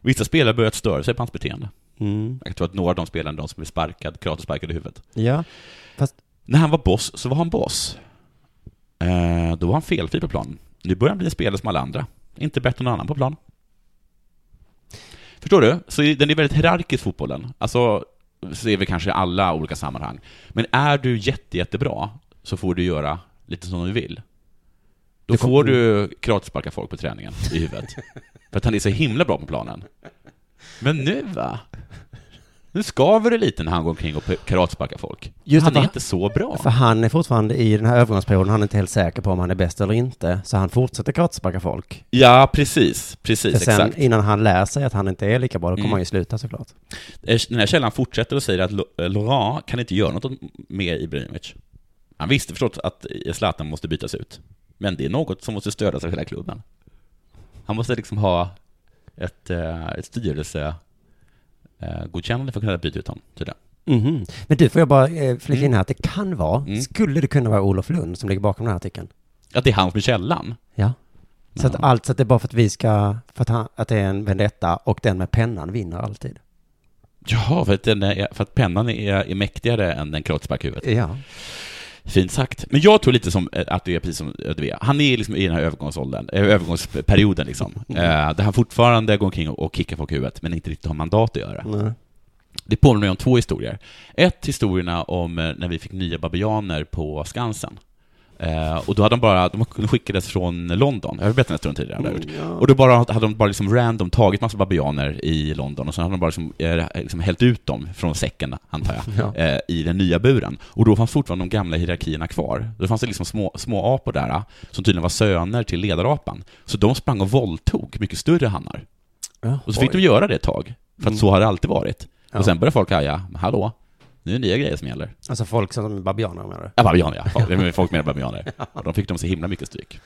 vissa spelare börjat störa sig på hans beteende.
Mm.
Jag tror att några av de spelarna, de som blev sparkad, karatesparkade i huvudet.
Ja.
När han var boss så var han boss. Eh, då var han felfri på planen. Nu börjar han bli en spelare som alla andra. Inte bättre än någon annan på plan. Förstår du? Så i- den är väldigt hierarkisk, fotbollen. Alltså, ser vi kanske i alla olika sammanhang. Men är du jätte, jättebra så får du göra lite som du vill. Då
Det kom-
får du karatesparka folk på träningen
*laughs*
i huvudet. För att han är så himla bra på planen. Men nu va? Nu skaver det lite när han går omkring och pe- karatesparkar folk.
Just
han
det,
är
va?
inte så bra.
För han är fortfarande i den här övergångsperioden, han är inte helt säker på om han är bäst eller inte. Så han fortsätter karatesparka folk.
Ja, precis. Precis,
För sen
exakt.
innan han lär sig att han inte är lika bra, då kommer
Mm.
han ju sluta såklart.
Eh, Den här källan fortsätter och säger att Lo- eh, Laurent kan inte göra något med Ibrahimovic. Han visste förstås att Zlatan eh, måste bytas ut. Men det är något som måste stödjas av hela klubben. Han måste liksom ha ett, eh, ett styrelse eh, godkännande för att kunna byta ut honom, tydligen.
Mhm. Men du, får jag bara eh, flika in här att det kan vara,
Mm.
skulle det kunna vara Olof Lund som ligger bakom den här artikeln?
Att det är han som är källan.
Ja. Så att
Ja.
allt, så att det är bara för att vi ska, för att, han, att det är en vendetta och den med pennan vinner alltid.
Jaha, för att, den är, för att pennan är, är mäktigare än den kroatsparkhuvudet.
Ja.
Fint sagt. Men jag tror lite som eh, att det är precis som Ödve. Han är liksom i den här övergångsåldern, eh, övergångsperioden liksom. Eh, där han fortfarande går omkring och, och kickar folk i huvudet, men inte riktigt har mandat att göra.
Nej.
Det påminner mig om två historier. Ett, historierna om eh, när vi fick nya babianer på Skansen. Eh, och då hade de bara, de skickades från London, jag har berättat den här historien tidigare. eller
Mm.
hur? Och då bara, hade de bara liksom random tagit massa babianer i London och sen hade de bara liksom, eh, liksom hällt ut dem från säcken, antar jag, eh, i den nya buren. Och då fanns fortfarande de gamla hierarkierna kvar. Då fanns det liksom små, små apor där, eh, som tydligen var söner till ledarapan. Så de sprang och våldtog mycket större hannar. Och så fick de göra det ett tag, för att så har det alltid varit.
Ja.
Och sen började folk haja, "Men hallå, nu är det nya grejer som gäller.
Alltså folk som är babianer menar
Ja, babianer ja. Det är Folk menar babianer. Och de fick de så himla mycket stryk.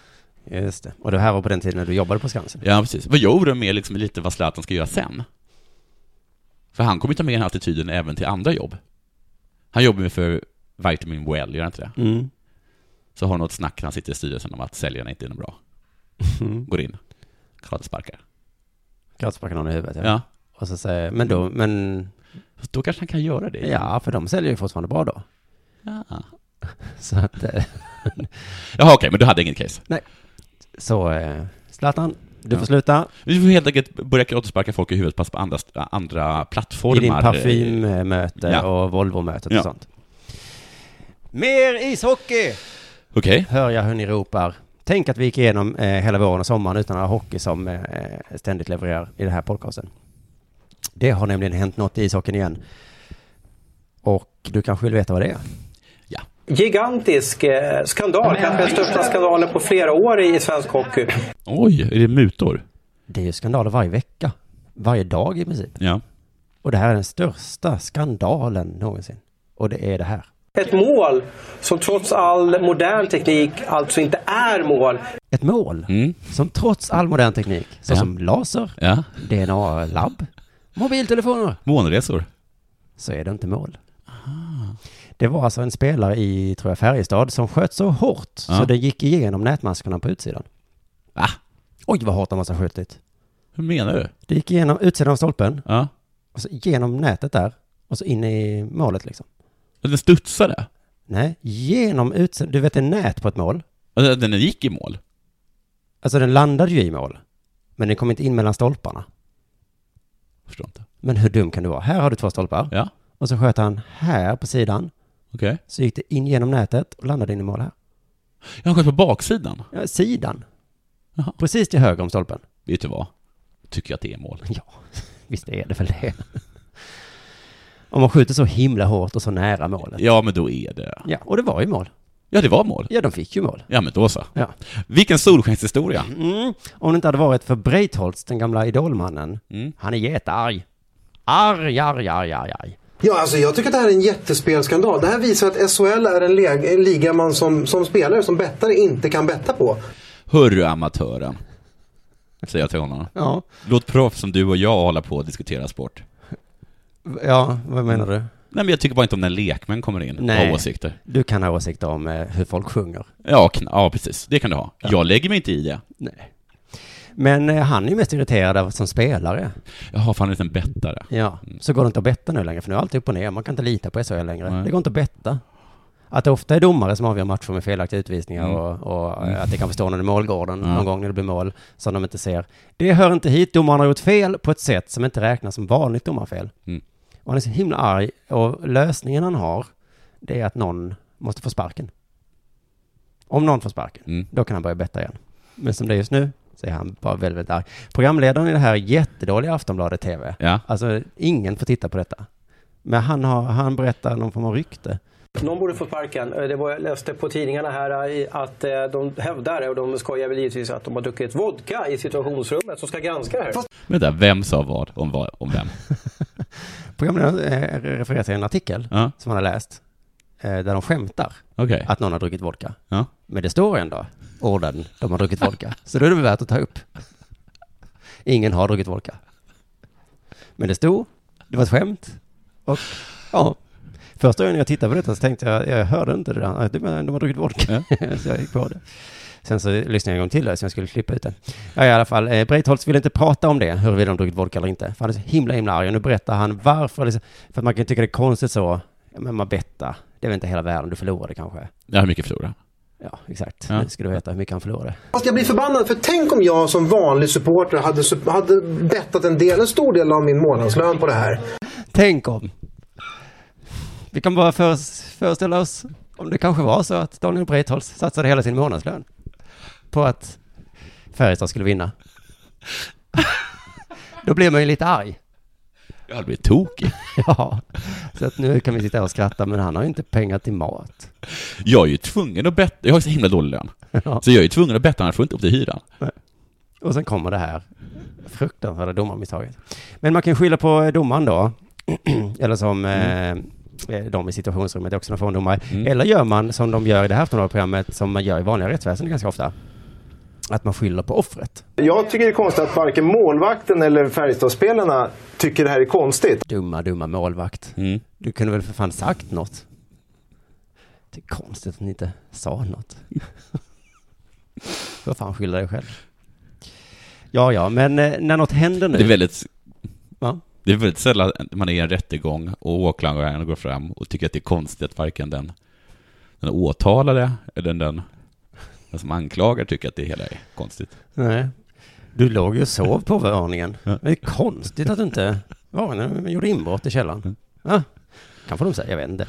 du? Just det. Och det här var på den tiden när du jobbade på Skansen?
Ja, precis. Vad jag oroar mig är liksom lite vad Zlatan ska göra sen. För han kommer ju ta med den här attityden även till andra jobb. Han jobbar ju för Vitamin Well, gör han inte det?
Mm.
Så har han något snack när han sitter i styrelsen om att säljarna inte är något bra.
*laughs*
Går in, krattsparkar.
Gratisparkar någon i huvudet, ja.
Ja.
Och så säger, men då, men,
Fast Då kanske han kan göra det.
ja, för de säljer ju fortfarande bra då.
Ja.
Så att, eh,
Jaha, okej, men du hade inget case.
så, eh, Zlatan, du
Ja.
får sluta.
Vi får helt enkelt börja krattsparka folk i huvudet, fast på andra, andra plattformar.
I din parfymmöte
Ja.
och Volvo-mötet och
Ja.
sånt. Mer ishockey!
Okej.
Hör jag hur ni ropar. Tänk att vi gick igenom eh, hela våren och sommaren utan att ha hockey som eh, ständigt levererar i den här podcasten. Det har nämligen hänt något i ishockeyn igen. Och du kanske vill veta vad det är?
Gigantisk eh, skandal, kanske den största skandalen på flera år i svensk hockey.
Oj, är det mutor?
Det är ju skandaler varje vecka. Varje dag i princip.
Ja.
Och det här är den största skandalen någonsin. Och det är det här.
Ett mål som trots all modern teknik alltså inte är mål.
Ett mål
Mm.
som trots all modern teknik, såsom laser,
Ja.
DNA-labb, mobiltelefoner,
Månresor?
så är det inte mål. Det var alltså en spelare i, tror jag, Färjestad som sköt så hårt så
Ja.
det gick igenom nätmaskerna på utsidan.
Va?
Oj, vad hårt de måste ha skjutit.
Hur menar du?
Det gick igenom utsidan av stolpen,
Ja.
och så genom nätet där, och så in i målet liksom.
Ja, Den studsade?
Nej, genom utsidan, du vet det är nät på ett mål.
Ja, Den gick i mål?
Alltså den landade ju i mål, men den kom inte in mellan stolparna.
Förstår inte.
Men hur dum kan du vara? Här har du två stolpar,
Ja,
och så sköt han här på sidan,
okej.
så gick det in genom nätet och landade in i mål här.
Jag har sköt på baksidan.
Ja, sidan.
Jaha.
Precis till höger om stolpen.
Vet du vad? Tycker jag att det är mål.
*laughs* Ja, visst är det väl det. Om man skjuter så himla hårt och så nära målet.
Ja, men då är det...
Ja, och det var ju mål.
Ja, det var mål.
Ja, de fick ju mål.
Ja, men då så.
Ja.
Vilken solskenshistoria.
Mm. Om det inte hade varit för Breitholtz, den gamla idolmannen. Han är jättearg. Arg, arg, arg, arg, arg.
Ja, alltså jag tycker att det här är en jättespelskandal. Det här visar att SHL är en, leg- en liga man som, som spelare, som bettare, inte kan betta på.
Hörru amatören. Säger jag till honom.
Ja,
Låt proffs som du och jag hålla på och diskutera sport.
ja vad menar du?
Nej, men jag tycker bara inte om när lekmän kommer in och
Nej.
har åsikter.
Du kan ha åsikter om eh, hur folk sjunger.
Ja, kn- ja, precis. Det kan du ha. Jag lägger mig inte i det.
Nej. Men eh, han är ju mest irriterad av som spelare.
Jag har fan en liten bettare.
Ja, så går det inte att betta nu längre, för nu är allt upp och ner. Man kan inte lita på SHL längre.
Nej.
Det går inte att betta. Att det ofta är domare som avgör matcher med felaktiga utvisningar
Mm.
och, och eh, att det kan stå någon i målgården någon gång när det blir mål som de inte ser. Det hör inte hit. Domaren har gjort fel på ett sätt som inte räknas som vanligt domarfel.
Mm.
Och han är så himla arg och lösningen han har det är att någon måste få sparken. Om någon får sparken,
Mm.
då kan han börja betta igen. Men som det är just nu så är han bara väldigt, väldigt arg. Programledaren i det här jättedåliga Aftonbladet TV,
Ja.
Alltså, ingen får titta på detta. Men han, har, han berättar någon form av rykte.
Någon borde få sparken. Eh, Det var, jag läste på tidningarna här eh, i- att eh, de hävdar, och de skojar väl givetvis, att de har druckit vodka i situationsrummet som ska granska det här.
Men där, vem sa vad om, vad, om vem?
Programledaren eh, refererar till en artikel
Ja,
som han har läst, eh, där de skämtar
okej.
att någon har druckit vodka.
Ja.
Men det står ändå, orden de har druckit vodka. Så då är det väl värt att ta upp. Ingen har druckit vodka. Men det stod, det var ett skämt och ja. Första gången jag tittade på detta så tänkte jag, jag hörde inte det där. Det var, de har druckit vodka. *laughs* så jag gick på det. Sen så lyssnade jag en gång till där, så jag skulle klippa ut den. Ja, i alla fall, eh, Breitholtz ville inte prata om det, huruvida de druckit vodka eller inte. För han är så himla, himla arg. Och nu berättar han varför. Liksom, för att man kan tycka det är konstigt så. Ja, men Mabetta, det är väl inte hela världen, du förlorade kanske.
Jag har mycket förlora.
Ja, exakt.
Ja.
Nu ska du veta hur mycket han förlorade.
Fast Jag blir förbannad för tänk om jag som vanlig supporter hade, sup- hade bettat en, del, en stor del av min månadslön på det här.
Tänk om. Vi kan bara föres- föreställa oss om det kanske var så att Daniel Breitholtz satsade hela sin månadslön på att Färjestad skulle vinna. Då blir man ju lite arg.
Jag hade blivit tokig.
Ja, så att nu kan vi sitta här och skratta, men han har ju inte pengar till mat.
Jag är ju tvungen att betta, jag har ju så himla dålig lön.
Ja.
Så jag är ju tvungen att betta, annars får jag inte upp till hyran.
Och sen kommer det här fruktansvärda domarmisstaget. Men man kan skylla på eh, domaren då, *clears throat* eller som eh, eh, de i situationsrummet är också någon form av domare.
Mm.
Eller gör man som de gör i det här Aftonbladet-programmet, som man gör i vanliga rättsväsendet ganska ofta, att man skyller på offret.
Jag tycker det är konstigt att varken målvakten eller Färjestadsspelarna tycker det här är konstigt.
Dumma, dumma målvakt.
Mm.
Du kunde väl för fan sagt något? Det är konstigt att ni inte sa något. För fan skylla dig själv. Ja, ja, men eh, när något händer nu...
Det är väldigt,
Va?
det är väldigt sällan man är i en rättegång och åklagaren går fram och tycker att det är konstigt att varken den, den åtalade eller den, den som anklagar tycker att det hela är konstigt.
Nej. Du låg ju och sov på våningen. Det är konstigt att du inte var när du gjorde inbrott i källaren. Ja. Kan få de säga, jag vet inte.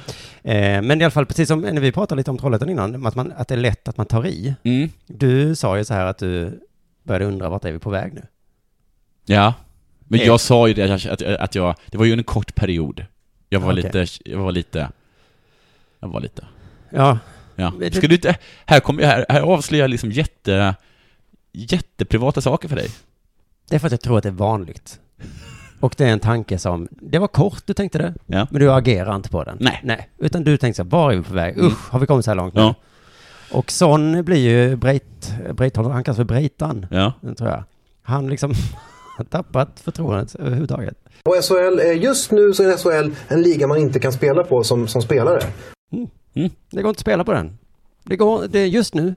Eh, men i alla fall, precis som när vi pratade lite om Trollhättan innan, att, man, att det är lätt att man tar i.
Mm.
Du sa ju så här att du började undra vart är vi på väg nu?
Ja. Men
Eh.
jag sa ju det, att, att, att jag, det var ju en kort period. Jag var
Okej.
lite, jag var lite, jag var lite
Ja,
Ja.
Men det-
Ska du inte, här, kommer jag, här, här avslöjar jag liksom jätte, jätteprivata saker för dig.
det är för att jag tror att det är vanligt. Och det är en tanke som, det var kort du tänkte det,
Ja.
men du agerar inte på den.
Nej. Mm.
Nej. Utan du tänkte så här, var är vi på väg? Usch, har vi kommit så här långt nu?
Ja.
Och sån blir ju Breit, Breitholm, han kallas för Breitan,
Ja.
tror jag. Han liksom *laughs* har tappat förtroendet överhuvudtaget.
Och SHL, är- eh, just nu så är SHL en liga man inte kan spela på som, som spelare.
Det går inte att spela på den. Det går, det är just nu.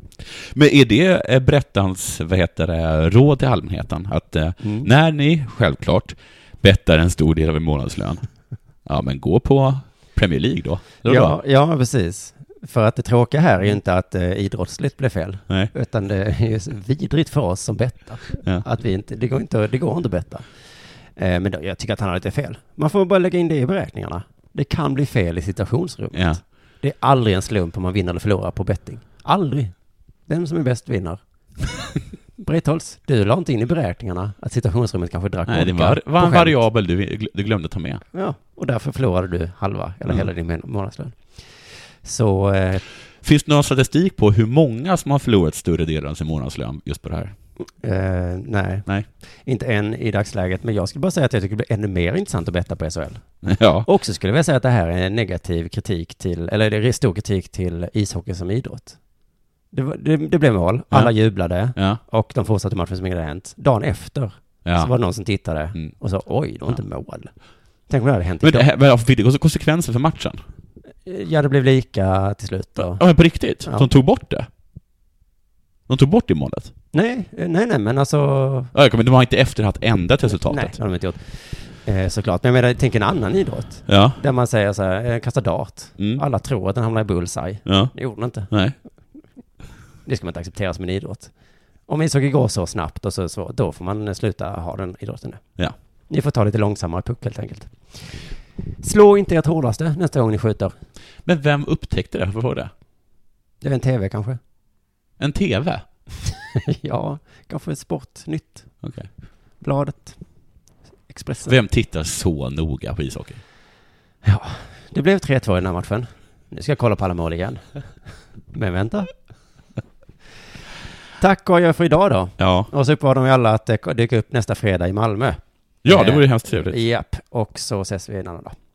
Men är det eh, Brettans, vad heter det, råd till allmänheten? Att eh,
Mm.
när ni, självklart, bettar en stor del av
*laughs*
er månadslön, ja men gå på Premier League då. Eller
Ja,
vadå?
ja, precis. För att det tråkiga här är
Mm.
ju inte att eh, idrottsligt blev fel,
Nej.
utan det är ju så vidrigt för oss som bettar.
Ja.
Att vi inte, det går inte, det går inte att betta. Eh, men då, jag tycker att han har lite fel. Man får bara lägga in det i beräkningarna. Det kan bli fel i situationsrummet.
Ja.
Det är aldrig en slump om man vinner eller förlorar på betting. Aldrig. Den som är bäst
*laughs*
vinner. Breitholtz, du la inte in i beräkningarna att situationsrummet kanske drack
Nej, det
vodka
var,
på
var en
skämt.
variabel du, du glömde ta med.
Ja, och därför förlorade du halva, eller
Mm.
hela din mån- månadslön. Så, eh,
Finns det någon statistik på hur många som har förlorat större delen av sin månadslön just på det här? *laughs*
eh, nej.
Nej.
Inte än i dagsläget, men jag skulle bara säga att jag tycker det blir ännu mer intressant att betta på SHL.
Ja.
Och så skulle jag vilja säga att det här är en negativ kritik till, eller det är stor kritik till ishockey som idrott. Det, var, det, det blev mål, alla
Ja.
jublade
Ja.
och de fortsatte matchen som inget hade hänt. Dagen efter
ja.
så var det någon som tittade
Mm.
och sa oj, det var inte mål. Tänk om det hade hänt
Men det,
idag.
här- men fick det konsekvenser för matchen?
Ja, det blev lika till slut då.
Ja, men på riktigt?
Ja.
De tog bort det? De tog bort det målet?
Nej, eh, nej, nej, men alltså...
Ja, jag kommer- De har inte efter haft ändrat
Nej,
resultatet?
det har de inte gjort. Eh, såklart, men jag menar, tänk en annan idrott.
Ja.
Där man säger så här, eh, kasta dart.
Mm.
Alla tror att den hamnar i bullseye.
ja.
Det gjorde den inte.
Nej.
Det ska man inte acceptera som en idrott. Om ishockey går så snabbt och så, så då får man eh, sluta ha den idrotten nu.
Ja.
Ni får ta lite långsammare puck helt enkelt. Slå inte ert hårdaste nästa gång ni skjuter.
Men vem upptäckte det? Varför var det?
Det är en tv kanske? *laughs*
En TV?
ja, kanske ett Sportnytt.
Okej.
Bladet. Expressen.
Vem tittar så noga på ishockey?
Det blev 3-2 i den här matchen. Nu ska jag kolla på alla mål igen. Men vänta. Tack och adjö för idag då.
Ja.
Och så uppmanar vi alla att eh, dyka upp nästa fredag i Malmö.
Ja, det vore ju hemskt trevligt.
Japp, och så ses vi en annan dag.